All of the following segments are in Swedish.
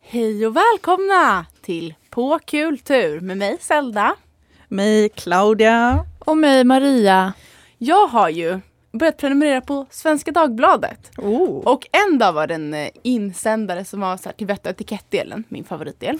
Hej och välkomna till På kul tur med mig Zelda. Mig Claudia. Och mig Maria. Jag har ju börjat prenumerera på Svenska Dagbladet. Oh. Och en dag var det en eh, insändare som var så här till vett och etikettdelen, min favoritdel.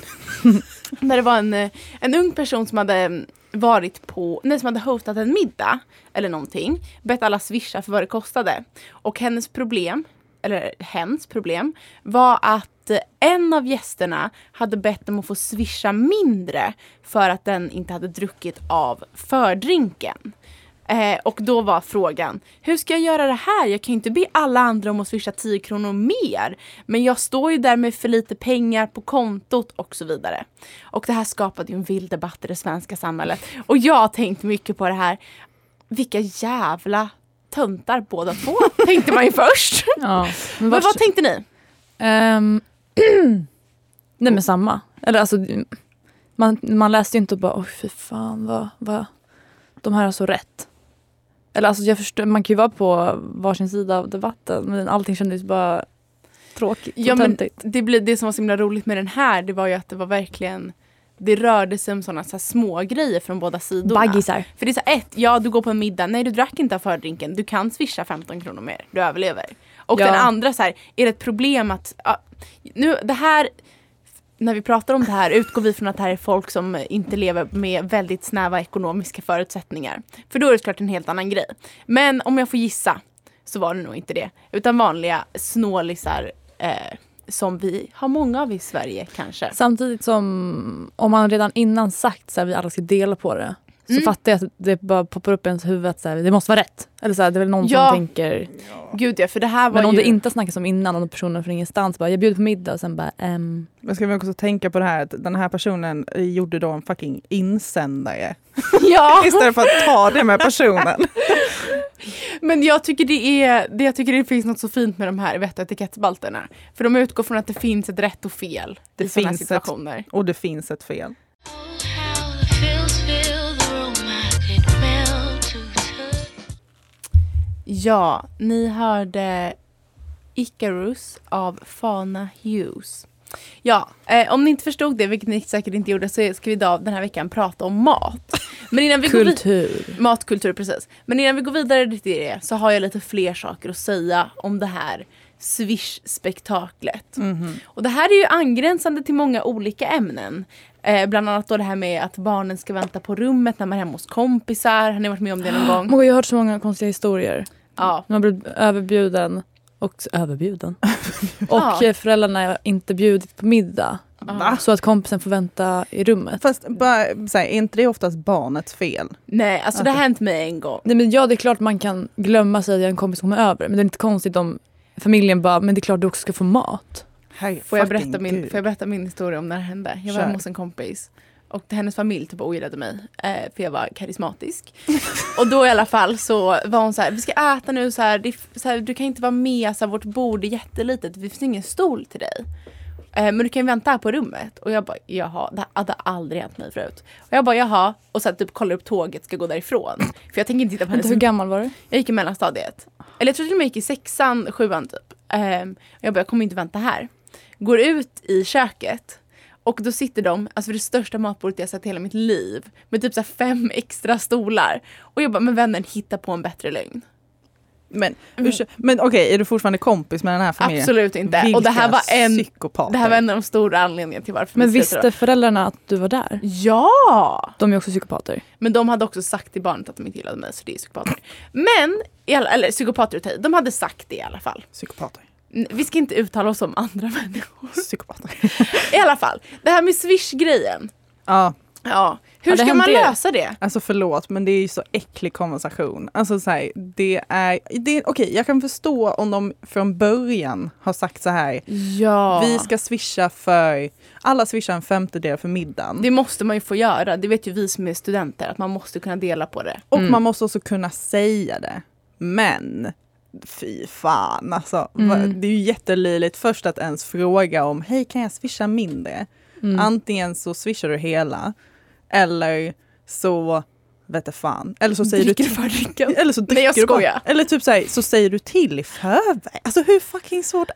Där det var en, eh, en ung person som hade mm, varit på, nej, som hade hostat en middag eller någonting. Bett alla swisha för vad det kostade. Och hennes problem, eller hens problem, var att eh, en av gästerna hade bett om att få swisha mindre för att den inte hade druckit av fördrinken. Eh, och då var frågan, hur ska jag göra det här? Jag kan ju inte be alla andra om att swisha 10 kronor mer. Men jag står ju där med för lite pengar på kontot och så vidare. Och det här skapade ju en vild debatt i det svenska samhället. Och jag har tänkt mycket på det här. Vilka jävla töntar båda två, tänkte man ju först. Ja. Men Men vart, vad tänkte ni? Ehm, nej men samma. Eller alltså, man, man läste ju inte och bara oj fy fan vad, vad, de här har så rätt. Eller alltså jag förstår, man kan ju vara på varsin sida av debatten men allting kändes bara tråkigt och Ja, men töntigt. det, blir, det som var så himla roligt med den här, det var ju att det var verkligen det rörde sig om sådana så här små grejer från båda sidorna. Baggisar. För det är så här, ett, ja du går på en middag, nej du drack inte av fördrinken, du kan swisha 15 kronor mer, du överlever. Och Ja. den andra så här, är det ett problem att, ja, nu det här, när vi pratar om det här utgår vi från att det här är folk som inte lever med väldigt snäva ekonomiska förutsättningar. För då är det såklart en helt annan grej. Men om jag får gissa så var det nog inte det. Utan vanliga snålisar eh, som vi har många av i Sverige kanske. Samtidigt som om man redan innan sagt så här, vi alla ska dela på det. Så Mm. fattar jag att det bara poppar upp i ens huvud att så här, det måste vara rätt. Eller så här, det är väl någon Ja. som tänker Gud ja, för det här var Men om ju... det inte snackas om innan, om personen från ingenstans bara jag bjuder på middag och sen bara ehm, Men ska vi också tänka på det här att den här personen gjorde då en fucking insändare. ja. Istället för att ta det med personen. Men jag tycker det är, det jag tycker det finns något så fint med de här vett och etikettspalterna. För de utgår från att det finns ett rätt och fel Det i sådana här finns ett- situationer. Och det finns ett fel. How the fields fill the room, I could melt to touch. Ja, ni hörde Icarus av Fana Hughes. Ja, eh, om ni inte förstod det, vilket ni säkert inte gjorde, så ska vi idag den här veckan prata om mat. Men innan vi går vid- kultur. Matkultur, precis. Men innan vi går vidare till det så har jag lite fler saker att säga om det här Swish-spektaklet. Och det här är ju angränsande till många olika ämnen. Eh, bland annat då det här med att barnen ska vänta på rummet när man är hemma hos kompisar. Har ni varit med om det någon gång? Och jag har hört så många konstiga historier. Ja. Man blir överbjuden och överbjuden. och Ja. eh, föräldrarna har inte bjudit på middag. Ah. Va? Så att kompisen får vänta i rummet. Fast bara, så här, är inte det oftast barnets fel? Nej, alltså det har hänt mig en gång. Nej men ja det är klart man kan glömma sig att en kompis kommer över. Men det är inte konstigt om familjen bara, men det är klart du också ska få mat. Får jag, berätta min, får jag berätta min historia om när det hände? Jag var Kör. hemma hos en kompis och hennes familj typ ogillade mig eh, för jag var karismatisk. och då i alla fall så var hon så här, vi ska äta nu så här, det, är f- så här du kan inte vara med, så här, vårt bord är jättelitet, det finns ingen stol till dig. Eh, men du kan ju vänta här på rummet. Och jag bara, jaha, det hade aldrig hänt mig förut. Och jag bara, jaha. Och så här, typ kollar upp tåget, ska gå därifrån. För jag tänker inte titta på hennes Vänta, hur gammal var du? jag gick i mellanstadiet. Eller jag tror till och med jag gick i sexan, sjuan typ. Ehm, och jag bara, jag kommer inte vänta här. Går ut i köket. Och då sitter de, alltså för det största matbordet jag sett i hela mitt liv. Med typ så här fem extra stolar. Och jag bara, men vännen hitta på en bättre lögn. Men, ursä- men okej, är du fortfarande kompis med den här familjen? Mm. Absolut inte. och det här Vilka var en, psykopater. det här var en av de stora anledningarna till varför Men vi slutade. visste föräldrarna att du var där? Ja! De är också psykopater. Men de hade också sagt till barnet att de inte gillade mig, så det är psykopater. Men, i alla- eller psykopater att ta i, de hade sagt det i alla fall. Psykopater. N- Vi ska inte uttala oss om andra människor. Psykopater. I alla fall, det här med swish-grejen. ja, Ja. Hur Ja, det ska hände man ju. lösa det? Alltså förlåt men det är ju så äcklig konversation. Alltså så här, det är, det är okej jag kan förstå om de från början har sagt så här, Ja. vi ska swisha för, alla swishar en femtedel för middagen. Det måste man ju få göra. Det vet ju vi som är studenter att man måste kunna dela på det. och man måste också kunna säga det. Men fy fan alltså. va- Mm. Det är ju jättelöjligt först att ens fråga om, hej kan jag swisha Mm. mindre? Antingen så swishar du hela eller så Vete fan. Eller så säger Dricker du för drinken. Eller så dricker jag du bara. skojar. Eller typ så, här, så säger du till i förväg. Alltså hur fucking svårt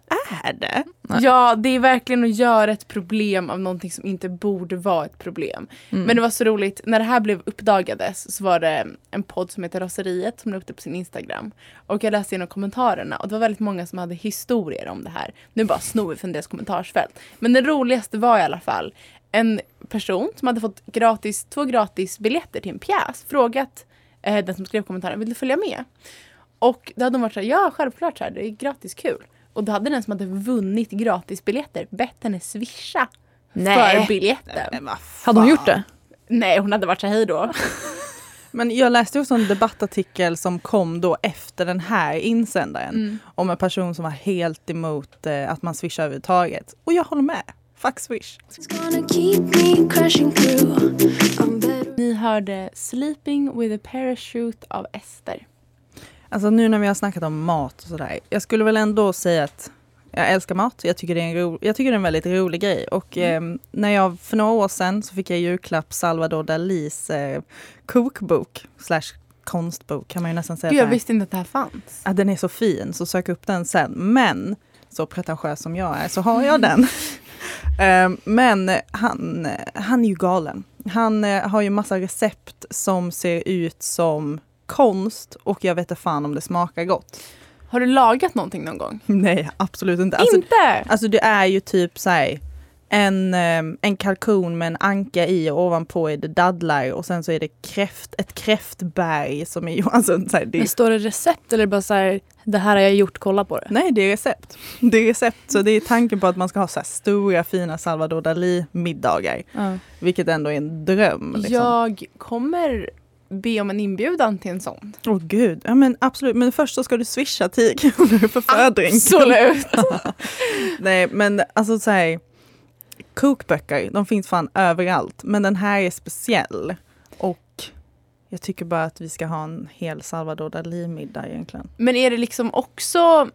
är det? Nej. Ja, det är verkligen att göra ett problem av någonting som inte borde vara ett problem. Mm. Men det var så roligt, när det här blev uppdagades så var det en podd som heter Raseriet som la upp det på sin Instagram. Och jag läste igenom kommentarerna och det var väldigt många som hade historier om det här. Nu bara snor vi från deras kommentarsfält. Men den roligaste var i alla fall en person som hade fått gratis, två gratis biljetter till en pjäs frågat eh, den som skrev kommentaren, vill du följa med? Och då hade de varit såhär, ja självklart, så här, det är gratis kul. Och då hade den som hade vunnit gratisbiljetter bett henne swisha för biljetten. Men vad Hade hon fan. gjort det? Nej, hon hade varit så här, hej då. Men jag läste också en debattartikel som kom då efter den här insändaren Mm. om en person som var helt emot eh, att man swishar överhuvudtaget. Och jag håller med. Fuck swish. It's gonna keep me crashing through. I'm better. Ni hörde Sleeping with a parachute av Ester. Alltså nu när vi har snackat om mat och sådär. Jag skulle väl ändå säga att jag älskar mat. Jag tycker det är en, ro, jag tycker det är en väldigt rolig grej. Och Mm. eh, när jag för några år sedan så fick jag i julklapp Salvador Dalis eh, kokbok slash konstbok kan man ju nästan säga. Gud, att jag det är. visste inte att det här fanns. att den är så fin, så sök upp den sen. Men, så pretentiös som jag är, så har jag den. Ehm, Men han, han är ju galen. Han eh, har ju massa recept som ser ut som konst och jag vet inte fan om det smakar gott. Har du lagat någonting någon gång? Nej, absolut inte. Alltså, inte! alltså det är ju typ så här, en, ehm, en kalkon med en anka i och ovanpå är det dadlar och sen så är det kräft, ett kräftberg som är... Alltså, så här, det är Men står det recept eller bara så här, det här har jag gjort, kolla på det? Nej, det är recept. Det är recept, så det är tanken på att man ska ha så här stora fina Salvador Dalí-middagar. Ja. Vilket ändå är en dröm. Liksom. Jag kommer be om en inbjudan till en sån. Åh gud, ja men absolut. Men först så ska du swisha 10 kronor för födring. Absolut! Nej, men alltså så här, kokböcker, de finns fan överallt. Men den här är speciell. Och jag tycker bara att vi ska ha en hel Salvador Dalí-middag egentligen. Men är det liksom också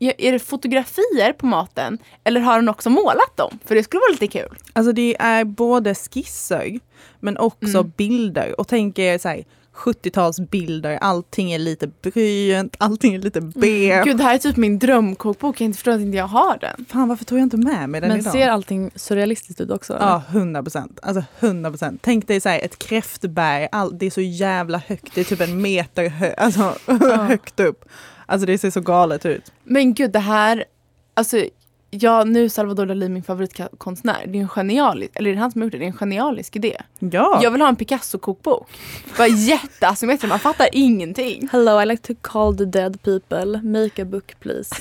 är det fotografier på maten eller har hon också målat dem? För det skulle vara lite kul. Alltså det är både skisser men också Mm. bilder. Och tänk er så här, 70-talsbilder, allting är lite brynt, allting är lite beige. Mm. Gud, det här är typ min drömkokbok. Jag inte förstår att inte jag har den. Fan varför tog jag inte med mig den Men idag? ser allting surrealistiskt ut också? Ja, 100 procent. Alltså 100 procent. Tänk dig så här, ett kräftberg, all, det är så jävla högt, det är typ en meter hö- alltså, högt upp. Alltså det ser så galet ut. Men gud, det här... Alltså, ja, nu Salvador Dalí, min favoritkonstnär, det är en genialisk, eller är det han som har gjort det? Det är en genialisk idé. Ja, Jag vill ha en Picasso-kokbok. Bara jätteasymmetriskt, man fattar ingenting. Hello, I like to call the dead people. Make a book please.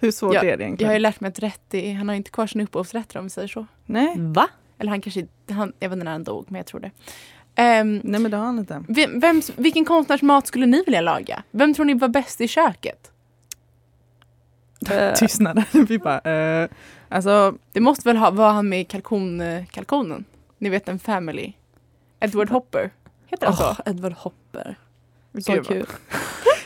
hur svårt är det Jag egentligen? har ju lärt mig att Rätti, han har inte kvar sina upphovsrätter om vi säger så. Nej. Va? Eller han kanske, han, jag vet inte när han dog, men jag tror det. Ehm, Nej men det har han inte. Vem, vems- vilken konstnärs mat skulle ni vilja laga? Vem tror ni var bäst i köket? Eh, Tystnaden. Vi bara, eh, alltså Det måste väl ha, vara han med kalkon, eh, kalkonen? Ni vet en family. Edward Hopper. Heter han så? åh, Edward Hopper. Så Gud, vad- kul.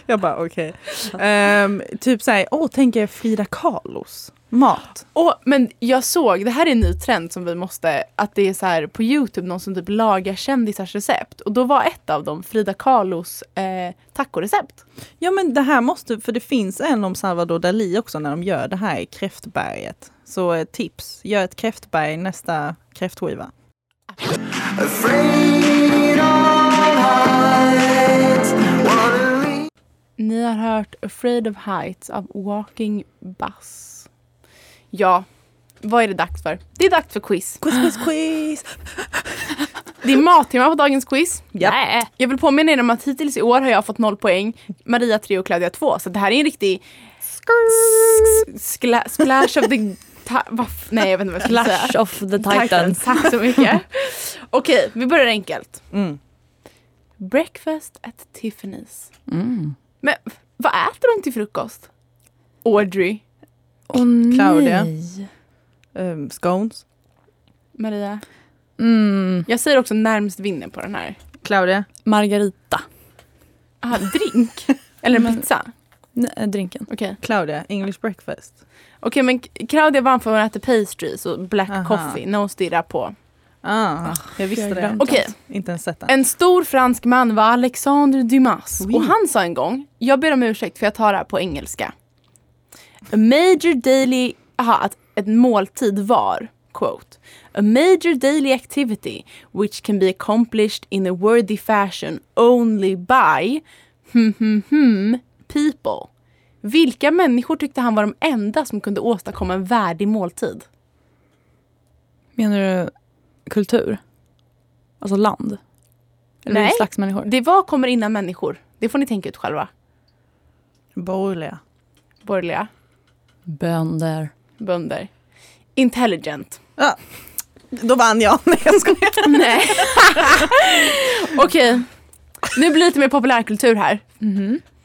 Jag bara okej. Ehm, typ såhär, åh tänk er Frida Kahlos mat. Åh, men jag såg, det här är en ny trend som vi måste, att det är så här på Youtube någon som typ lagar kändisars recept. Och då var ett av dem Frida Kahlos eh, tacorecept. Ja men det här måste, för det finns en om Salvador Dalí också när de gör det här i kräftberget. Så eh, tips, gör ett kräftberg i nästa kräftskiva. Ni har hört Afraid of Heights av Walking Bus. Ja, vad är det dags för? Det är dags för quiz. Quiz, quiz, quiz! Det är mattimmar på dagens quiz. Ja. Nej. Jag vill påminna er om att hittills i år har jag fått noll poäng, Maria 3 och Claudia 2. Så det här är en riktig sk- skla- splash of the... Ta- vad f- nej, jag vet inte vad jag skulle säga. Clash of the Titans. Tack så mycket. Okej, vi börjar enkelt. Mm. Breakfast at Tiffany's. Mm. Men f- vad äter de till frukost? Audrey, Åh nej. Claudia. Ehm, scones. Maria. Mm. Jag säger också närmst vinner på den här. Claudia. Margarita. Ah, drink? Eller en Men- pizza? Nej, eh, drinken. Okej. Claudia, English breakfast. Okej men Claudia vann för att hon äter pastries och black Aha. coffee när hon stirrar på Ah, jag visste jag det. glömde. Okej, Inte ens sett den. en stor fransk man var Alexandre Dumas. Oui. Och han sa en gång, jag ber om ursäkt för jag tar det här på engelska. A major daily, aha, att ett måltid var, quote. A major daily activity which can be accomplished in a worthy fashion only by hmm, hmm, hmm, people. Vilka människor tyckte han var de enda som kunde åstadkomma en värdig måltid? Menar du kultur? Alltså land? Eller Nej. Nej. slags människor? Det var kommer innan människor. Det får ni tänka ut själva, Borgerliga. borgerliga. Bönder. bönder. Intelligent. Då vann jag. Nej, jag skojar. Nej. Okej. Nu blir det lite mer populärkultur här.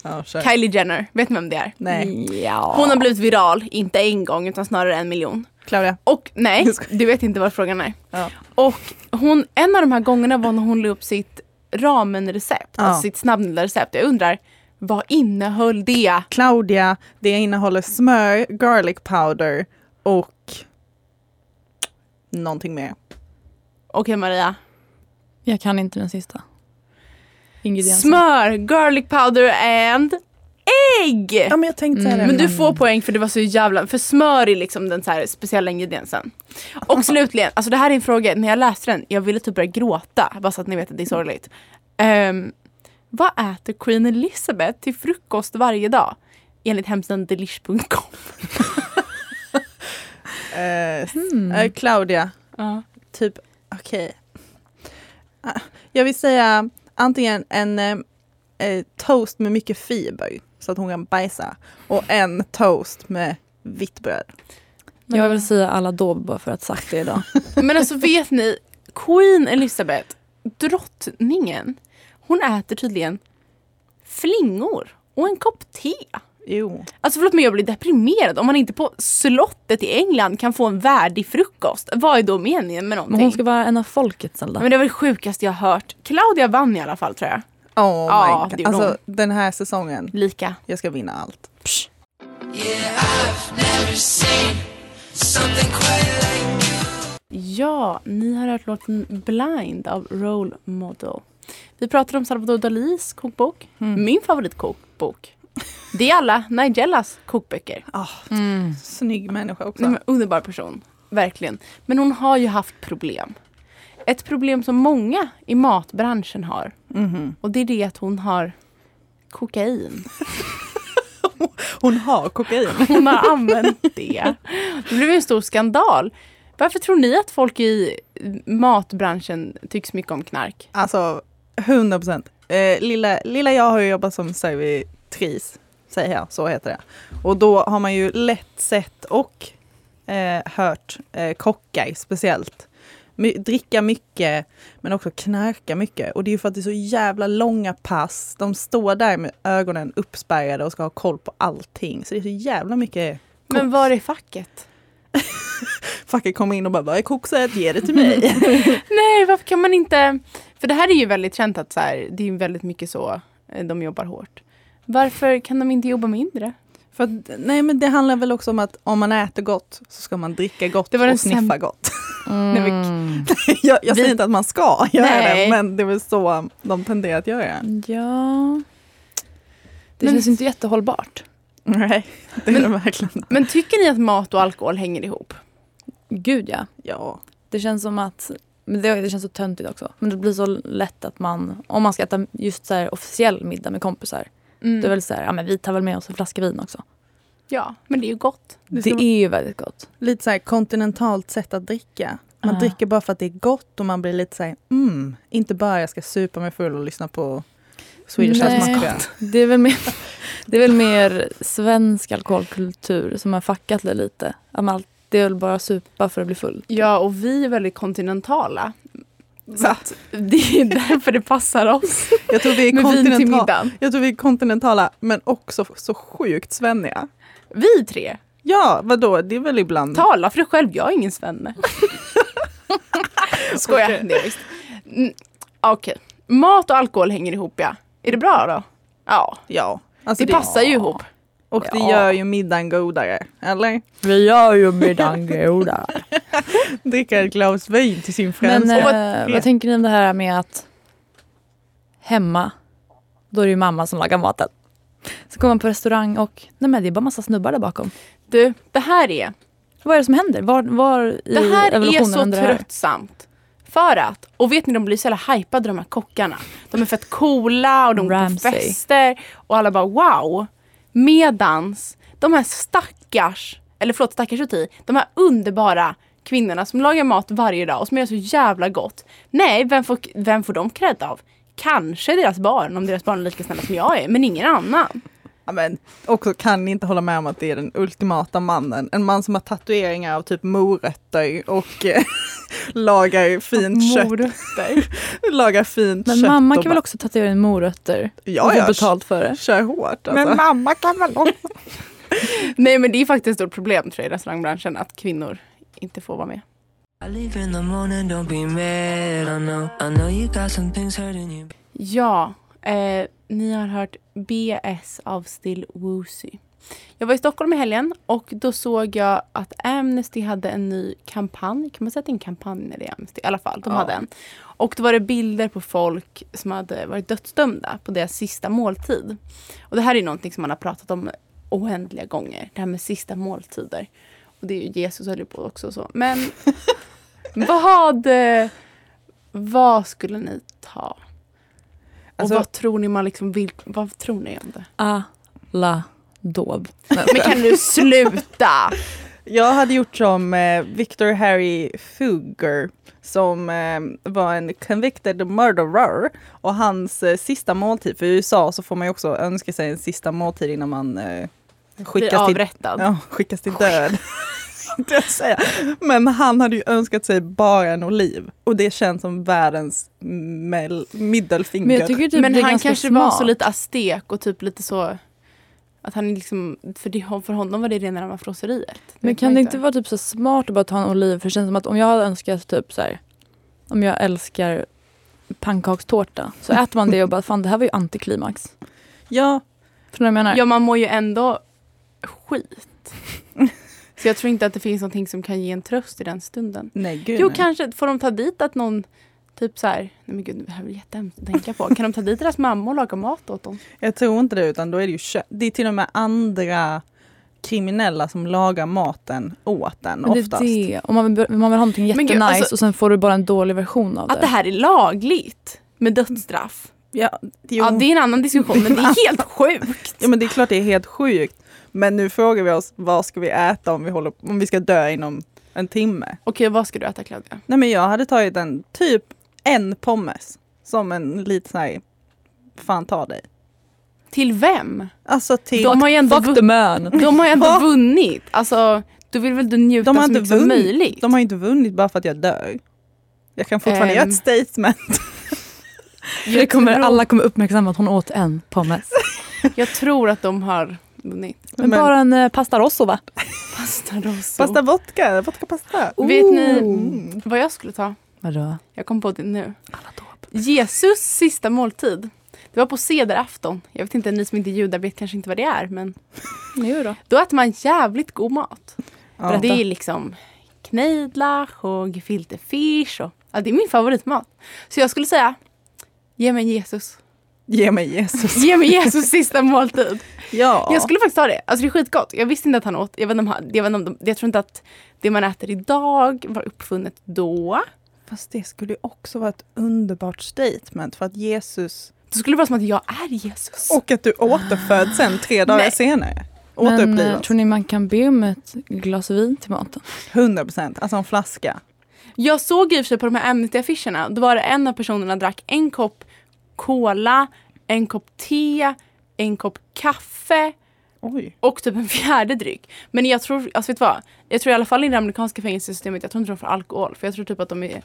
Ja, kör. Kylie Jenner, vet ni vem det är? Nej, Mm-hmm. Ja. Hon har blivit viral, inte en gång utan snarare en miljon. Claudia. Och nej, du vet inte vad frågan är. Ja. Och hon, en av de här gångerna var när hon la upp sitt ramenrecept, Ja. alltså sitt snabbnudelrecept. Jag undrar, vad innehöll det? Claudia, det innehåller smör, garlic powder och någonting mer. Okej Maria. Jag kan inte den sista. Ingrediensen. Smör, garlic powder and ägg! Ja, men jag tänkte Mm. säga det. Men du får poäng för det var så jävla... För smör är liksom den så här speciella ingrediensen. Och slutligen, alltså det här är en fråga, när jag läste den, jag ville typ börja gråta. Bara så att ni vet att det är sorgligt. Ehm, vad äter Queen Elizabeth till frukost varje dag? Enligt hemsidan delish.com. Eh, s- Mm. eh, Claudia, typ, okej. Ah, Jag vill säga antingen en eh, eh, toast med mycket fiber så att hon kan bajsa och en toast med vitt bröd. Jag vill säga alla dov bara för att sagt det idag. Men alltså vet ni, Queen Elizabeth, drottningen, hon äter tydligen flingor och en kopp te. Jo. Alltså förlåt men jag blir deprimerad om man inte på slottet i England kan få en värdig frukost. Vad är då meningen med Men någonting? hon ska vara en av folket Zelda. Men det var det sjukaste jag hört. Claudia vann i alla fall tror jag. Oh Ja, my det god. gjorde Alltså den här säsongen, Lika. jag ska vinna allt. Psch. Ja, ni har hört låten Blind av Role Model. Vi pratade om Salvador Dalis kokbok. Mm. Min favoritkokbok. Det är alla Nigellas kokböcker. Oh, Mm. snygg människa också. Nej, men underbar person, verkligen. Men hon har ju haft problem. Ett problem som många i matbranschen har. Mhm. Och det är det att hon har kokain. Hon har kokain. Hon har använt det. Det blev en stor skandal. Varför tror ni att folk i matbranschen tycks mycket om knark? Alltså 100 procent. Eh, lilla, lilla jag har ju jobbat som servitris, säger jag, så heter det. Och då har man ju lätt sett och eh, hört eh, kockar speciellt My, dricka mycket men också knarka mycket. Och det är ju för att det är så jävla långa pass. De står där med ögonen uppspärrade och ska ha koll på allting. Så det är så jävla mycket Men var är facket? Fucking kommer in och bara, vad är kokset? Ge det till mig. Nej, varför kan man inte... För det här är ju väldigt känt att så här, det är ju väldigt mycket så eh, de jobbar hårt. Varför kan de inte jobba mindre? För att, nej men det handlar väl också om att om man äter gott så ska man dricka gott Det var den och sniffa säm- gott. Mm. Nej, jag jag Vi- säger inte att man ska göra Nej. det men det är väl så de tenderar att göra. Ja. Det Men- känns inte jättehållbart. Nej, det är Men- det verkligen. Men tycker ni att mat och alkohol hänger ihop? Gud ja. Ja. Det känns som att, men det, det känns så töntigt också, men det blir så lätt att man, om man ska äta just så här officiell middag med kompisar, då är väl så här, ja men vi tar väl med oss en flaska vin också. Ja, men det är ju gott. Det Det, ska- är ju väldigt gott. Lite så här kontinentalt sätt att dricka. Man Ah. dricker bara för att det är gott och man blir lite så här, mm, inte bara jag ska supa mig full och lyssna på Swedish Nej. House Mafia. Det är väl mer, det är väl mer svensk alkoholkultur som har fuckat det lite. Att man, all- det är väl bara att supa för att bli full. Ja, och vi är väldigt kontinentala. Så Va? att det är därför det passar oss Jag tror vi är med vin till kontinentala, middagen. jag tror vi är kontinentala men också så sjukt svenniga. Vi tre, Ja, vadå, det är väl ibland... tala för dig själv, jag är ingen svenne. Skoja, Okej. det är visst. Mm, Okej, mat och alkohol hänger ihop ja. Är det bra då? Ja, Ja. Alltså det, passar ju ihop. Och det Ja. gör ju middagen godare, eller? Vi gör ju middagen goda. Dricka ett glas vin till sin Men främsta. eh, Och vad- vad, tänker ni om det här med att hemma, då är det ju mamma som lagar maten. Så kommer man på restaurang och nej men det är bara massa snubbar där bakom. Du, det här är, Vad är det som händer? Var, var i det här är evolutionen så händer det här? tröttsamt. För att, och vet ni de blir så jävla hypade de här kockarna. De är fett coola och de går på Ramsay. fester och alla bara wow. Medans de här stackars, eller förlåt stackars uti, de här underbara kvinnorna som lagar mat varje dag och som gör så jävla gott. Nej, vem får, vem får de cred av? Kanske deras barn, om deras barn är lika snälla som jag är, men ingen annan. Ja, men också kan ni inte hålla med om att det är den ultimata mannen. En man som har tatueringar av typ morötter och eh, lagar fint kött. Morötter. Lagar fint Men kött mamma och kan väl också tatuera in morötter och ja, få ja, betalt för det? Kör hårt alltså. mamma kan väl också... Nej men det är faktiskt ett stort problem tror jag i restaurangbranschen att kvinnor inte får vara med. I leave in the morning, don't be mad. I know, I know you got some things hurting you. Ja, eh, ni har hört BS av Still Woozy. Jag var i Stockholm i helgen och då såg jag att Amnesty hade en ny kampanj. Kan man säga att det är en kampanj när det är Amnesty? I alla fall, de Ja. hade en. Och då var det bilder på folk som hade varit dödsdömda på deras sista måltid. Och det här är någonting som man har pratat om oändliga gånger. Det här med sista måltider. Och det är ju Jesus höll ju på också och så. Men vad, eh, vad skulle ni ta? Alltså- och vad tror ni man liksom vill, vad tror ni om det? Alla dov. Men kan du sluta? Jag hade gjort som eh, Victor Harry Fugger som eh, var en convicted murderer och hans eh, sista måltid, för i USA så får man ju också önska sig en sista måltid innan man eh, Bli skickas till avrättad. Ja, skickas till död. Det jag säga. Men han hade ju önskat sig bara en oliv och det känns som världens mel- middelfinger. Men jag tycker typ Men det är han ganska kanske smart. var så lite astek och typ lite så att han liksom, för, det, för honom var det rena rama frosseriet. Men vet kan man det inte vara typ så smart att bara ta en oliv? För det känns som att om jag hade önskat typ så här, om jag älskar pannkakstårta så äter man det och bara fan det här var ju antiklimax. Ja, Förstår du vad jag menar? Ja man mår ju ändå skit. Så jag tror inte att det finns någonting som kan ge en tröst i den stunden. nej gud Jo, nej. kanske får de ta dit att någon typ så här, nej men gud det här blir jättehemskt att tänka på. Kan de ta dit deras mamma och laga mat åt dem? Jag tror inte det utan då är det ju kö- Det är till och med andra kriminella som lagar maten åt en Men det är oftast. det. Om man, vill, man vill ha någonting Men gud, jättenice alltså- och sen får du bara en dålig version av Att det. det här är lagligt med dödsstraff. Ja, jo. Ja, det är en annan diskussion men det är helt sjukt. ja, men det är klart det är helt sjukt. Men nu frågar vi oss vad ska vi äta om vi, håller, om vi ska dö inom en timme? Okej, vad ska du äta Claudia? Nej men jag hade tagit en typ en pommes som en liten sån här, fan ta dig. Till vem? Alltså till, De de, har ju ändå, Fuck the vun- man! de har ju ändå Va? vunnit. Alltså, du vill väl du njuta De har så inte mycket som vunnit. möjligt? har ju inte vunnit bara för att jag dör. Jag kan fortfarande Ehm. göra ett statement. Det kommer, tror- alla kommer uppmärksamma att hon åt en pommes. Jag tror att de har vunnit. Men, Men- bara en eh, pasta rosso va? Pasta Oh. rosso. Pasta vodka, vodka pasta. Vet ni Mm. vad jag skulle ta? Vadå? Jag kom på det nu. Alla dåb. Jesus sista måltid. Det var på sederafton. Jag vet inte, ni som inte är judar vet kanske inte vad det är. Men Nu då? då äter man jävligt god mat. Ja. Det är liksom kneidlach och gefilte fish. Och, ja, det är min favoritmat. Så jag skulle säga, ge mig Jesus. Ge mig Jesus. Ge mig Jesus sista måltid. Ja. Jag skulle faktiskt ta det. Alltså det är skitgott. Jag visste inte att han åt. Jag, vet inte om han, jag, vet inte om de, jag tror inte att det man äter idag var uppfunnet då. Fast det skulle ju också vara ett underbart statement för att Jesus Det skulle det vara som att jag är Jesus. och att du återföds sen tre dagar Nej. senare. Men eh, Återupplivas. tror ni man kan be om ett glas vin till maten? 100 procent. Alltså en flaska. Jag såg i och för sig på de här Amnesty-affischerna, då var det en av personerna drack en kopp cola, en kopp te, en kopp kaffe Oj. och typ en fjärde dryck. Men jag tror, alltså vet du vad? Jag tror i alla fall i det amerikanska fängelsesystemet, jag tror inte de får alkohol. För jag tror typ att de är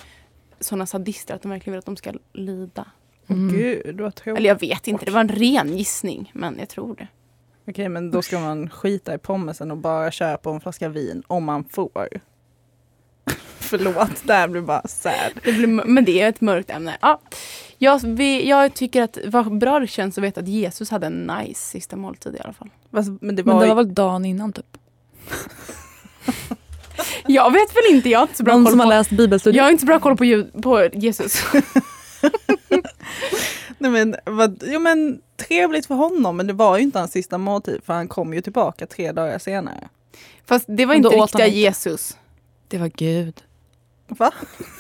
såna sadister att de verkligen vill att de ska lida. Åh Mm. Gud, vad tråkigt. Eller jag vet inte, det var en ren gissning. Men jag tror det. Okej, men då ska man skita i pommesen och bara köpa en flaska vin om man får. Förlåt, det här blir bara sad. Det blir, mör- men det är ett mörkt ämne. Ja. Jag, vi, jag tycker att vad bra det känns att veta att Jesus hade en nice sista måltid i alla fall. Fast- Men det Men var, det var väl dagen innan typ? Jag vet väl inte, jag har inte så bra Någon koll som har på, läst bibelstudier? jag har inte så bra koll på, ju- på Jesus. nej men, vad, jo men trevligt för honom, men det var ju inte hans sista måltid för han kom ju tillbaka tre dagar senare. Fast det var Men då inte åt han riktiga inte. Jesus. Det var Gud. Va?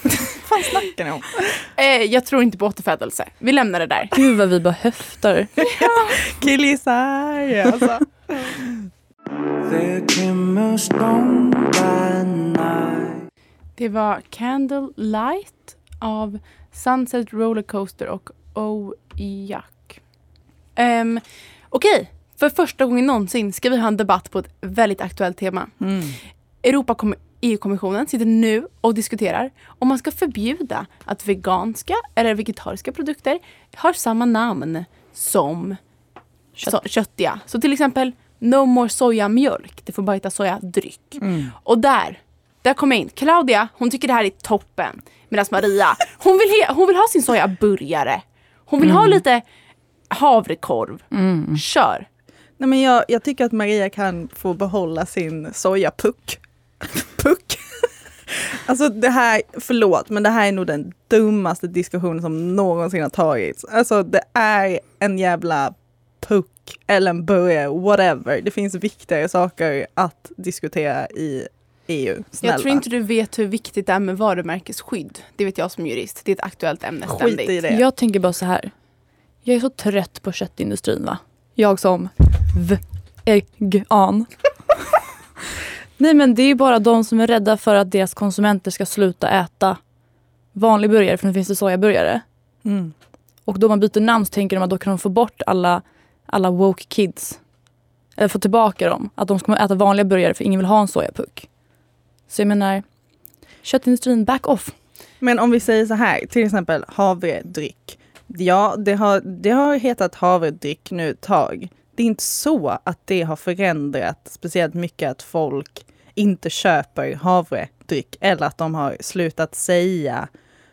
Vad fan snackar ni om? Eh, jag tror inte på återfödelse. Vi lämnar det där. Gud vad vi bara höftar. Killisar! Alltså. The Kimmelstone by night. Det var Candlelight av Sunset Rollercoaster och Oh Jack. Ehm, Okej, för första gången någonsin ska vi ha en debatt på ett väldigt aktuellt tema. Mm. Europa EU-kommissionen sitter nu och diskuterar om man ska förbjuda att veganska eller vegetariska produkter har samma namn som Kött. så, köttiga. Så till exempel No more sojamjölk. Det får bara heta sojadryck. Mm. Och där, där kom jag in. Claudia, hon tycker det här är toppen. Medan Maria, hon vill, he- hon vill ha sin sojaburgare. Hon vill ha lite havrekorv. Kör! Nej, men jag, jag tycker att Maria kan få behålla sin sojapuck. Puck? Alltså det här, förlåt, men det här är nog den dummaste diskussionen som någonsin har tagits. Alltså det är en jävla puck eller en burgare, whatever. Det finns viktigare saker att diskutera i EU. Snälla. Jag tror inte du vet hur viktigt det är med varumärkesskydd. Det vet jag som jurist. Det är ett aktuellt ämne ständigt. Skit i det. Jag tänker bara så här. Jag är så trött på köttindustrin va? Jag som vegan. Nej men det är ju bara de som är rädda för att deras konsumenter ska sluta äta vanlig burgare för nu finns det sojaburgare. Mm. Och då man byter namn så tänker de att då kan de få bort alla, alla woke kids. Eller få tillbaka dem. Att de ska äta vanliga burgare för ingen vill ha en sojapuck. Så jag menar, köttindustrin back off. Men om vi säger så här, till exempel havredryck. Ja, det har, det har hetat havredryck nu ett tag. Det är inte så att det har förändrat speciellt mycket att folk inte köper havredryck eller att de har slutat säga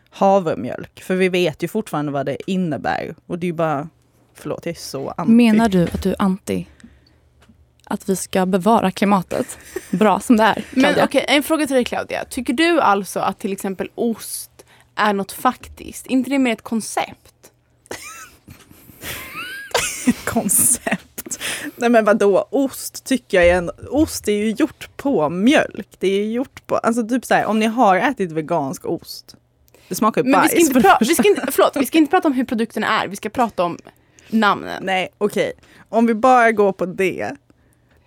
havremjölk. För vi vet ju fortfarande vad det innebär. Och det är ju bara, förlåt jag är så anti. Menar du att du är anti att vi ska bevara klimatet bra som det är? Men Claudia? okej, en fråga till dig Claudia. Tycker du alltså att till exempel ost är något faktiskt? inte det mer ett koncept? koncept. Nej men vadå, ost tycker jag är en... Ost är ju gjort på mjölk. Det är ju gjort på... Alltså typ såhär, om ni har ätit vegansk ost. Det smakar ju Men vi bajs. ska, inte för det pra- första. vi, ska inte, förlåt, vi ska inte prata om hur produkterna är, vi ska prata om namnen. Nej okej, om vi bara går på det.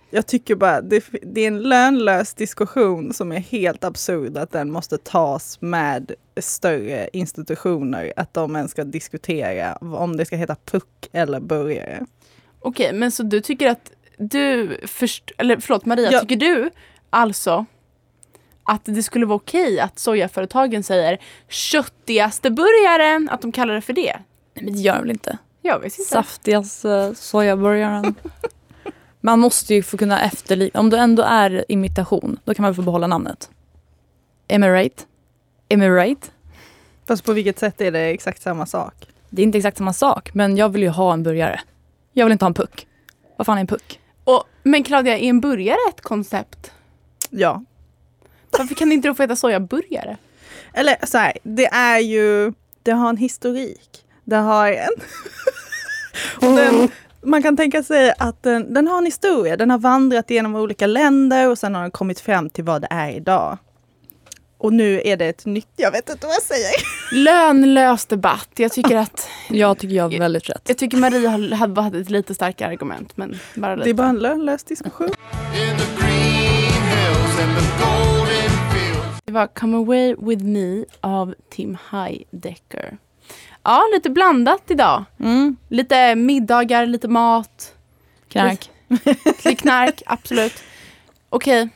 Jag tycker bara det, det är en lönlös diskussion som är helt absurd att den måste tas med större institutioner. Att de ens ska diskutera om det ska heta puck eller burgare. Okej, men så du tycker att du, först- eller förlåt Maria, Ja. tycker du alltså att det skulle vara okej att sojaföretagen säger köttigaste burgaren, att de kallar det för det? Nej, men det gör de väl inte. Jag vet inte. Saftigaste eh, sojaburgaren. Man måste ju få kunna efterlikna. Om det ändå är imitation, då kan man få behålla namnet. Emirate. Emirate. Fast på vilket sätt är det exakt samma sak? Det är inte exakt samma sak, men jag vill ju ha en burgare. Jag vill inte ha en puck. Vad fan är en puck? Och, men Claudia, är en burgare ett koncept? Ja, Varför kan inte de få heta sojaburgare? Eller så här, det är ju, det har en historik. Det har en... och den, man kan tänka sig att den, den har en historia. Den har vandrat genom olika länder och sen har den kommit fram till vad det är idag. Och nu är det ett nytt, jag vet inte vad jag säger. Lönlös debatt. Jag tycker att Jag tycker jag har väldigt rätt. jag tycker Maria har- hade hade ett lite starkare argument. Men bara Det är lite. bara en lönlös diskussion. In the green hills and the golden fields. Det var Come Away With Me av Tim Heidecker. Ja, lite blandat idag. Mm. Lite middagar, lite mat, Knark. lite knark, absolut. Okej,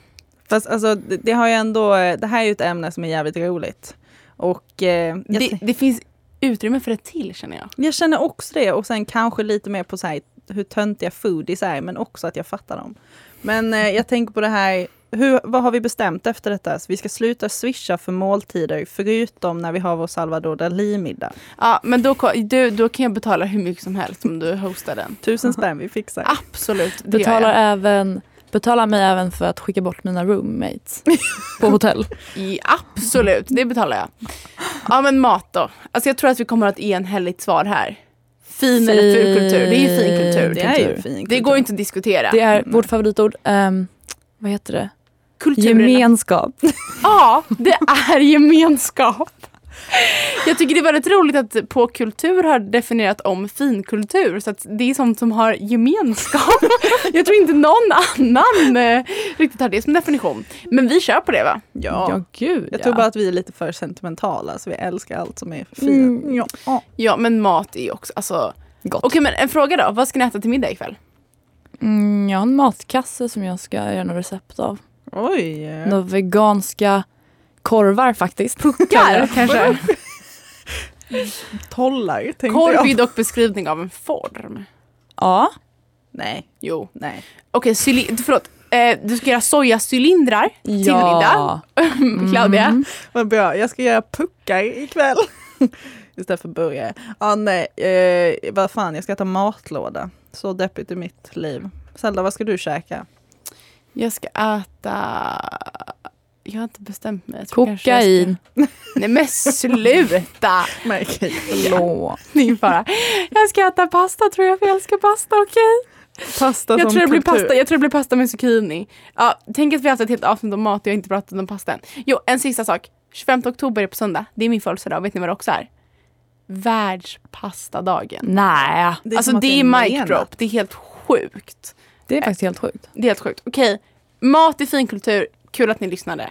Fast alltså, det, det har ju ändå, det här är ju ett ämne som är jävligt roligt. Och eh, det, jag, tän- det finns utrymme för ett till känner jag. jag känner också det och sen kanske lite mer på så här, hur töntiga foodies är men också att jag fattar dem. Men eh, jag tänker på det här hur, vad har vi bestämt efter detta? Så vi ska sluta swisha för måltider, förutom när vi har vår Salvador Dalí-middag. Ja, men då, ko- du, då kan jag betala hur mycket som helst om du hostar den. Tusen spänn, vi fixar. Absolut, det gör Betalar, jag. även, betalar mig även för att skicka bort mina roommates på hotell. I, absolut, det betalar jag. Ja men mat då. Alltså jag tror att vi kommer att ha ett enhälligt svar här. Fin eller ful kultur, det är ju fin kultur. Det Det, är kultur. ju fint. går ju inte att diskutera. Det är vårt favoritord. ehm, vad heter det? Kulturen. Gemenskap. Ja, det är gemenskap. Jag tycker det är väldigt roligt att på kultur har definierat om finkultur. Så att det är sånt som har gemenskap. Jag tror inte någon annan eh, riktigt har det som definition. Men vi kör på det va? Ja. gud Jag ja. tror bara att vi är lite för sentimentala, så vi älskar allt som är fint. Mm. Ja. Ja. Ja, men mat är ju också... Alltså... Gott. Okej, men en fråga då. Vad ska ni äta till middag ikväll? Mm, jag har en matkasse som jag ska göra några recept av. Oj! Några veganska korvar faktiskt. Puckar kanske? Tollar, tänkte Korv är jag. dock beskrivning av en form. Ja. Nej, Jo. nej. Okej, cyli- förlåt. Eh, du ska göra sojacylindrar till middag, ja. Claudia. Mm. Vad bra, jag ska göra puckar ikväll. Istället för burgare. Ja, nej, eh, vad fan, jag ska äta matlåda. Så deppigt i mitt liv. Zelda, vad ska du käka? Jag ska äta... Jag har inte bestämt mig. Jag tror kanske jag ska- Kokain. Nej men sluta! Märkligt. Hallå. Min fara. Jag ska äta pasta tror jag för jag älskar pasta, okej? Pasta Jag som tror det blir kultur. pasta, jag tror det blir pasta med zucchini. Ja, tänk att vi har haft ett helt avsnitt om mat och jag har inte pratat om pasta än. Jo, en sista sak. 25 oktober är på söndag. Det är min födelsedag. Vet ni vad det också är? Världspastadagen. Nej. Det är alltså som att det är en mic arena. drop. Det är helt sjukt. Det är faktiskt helt sjukt. Det är helt sjukt. Okej, mat är finkultur. Kul att ni lyssnade.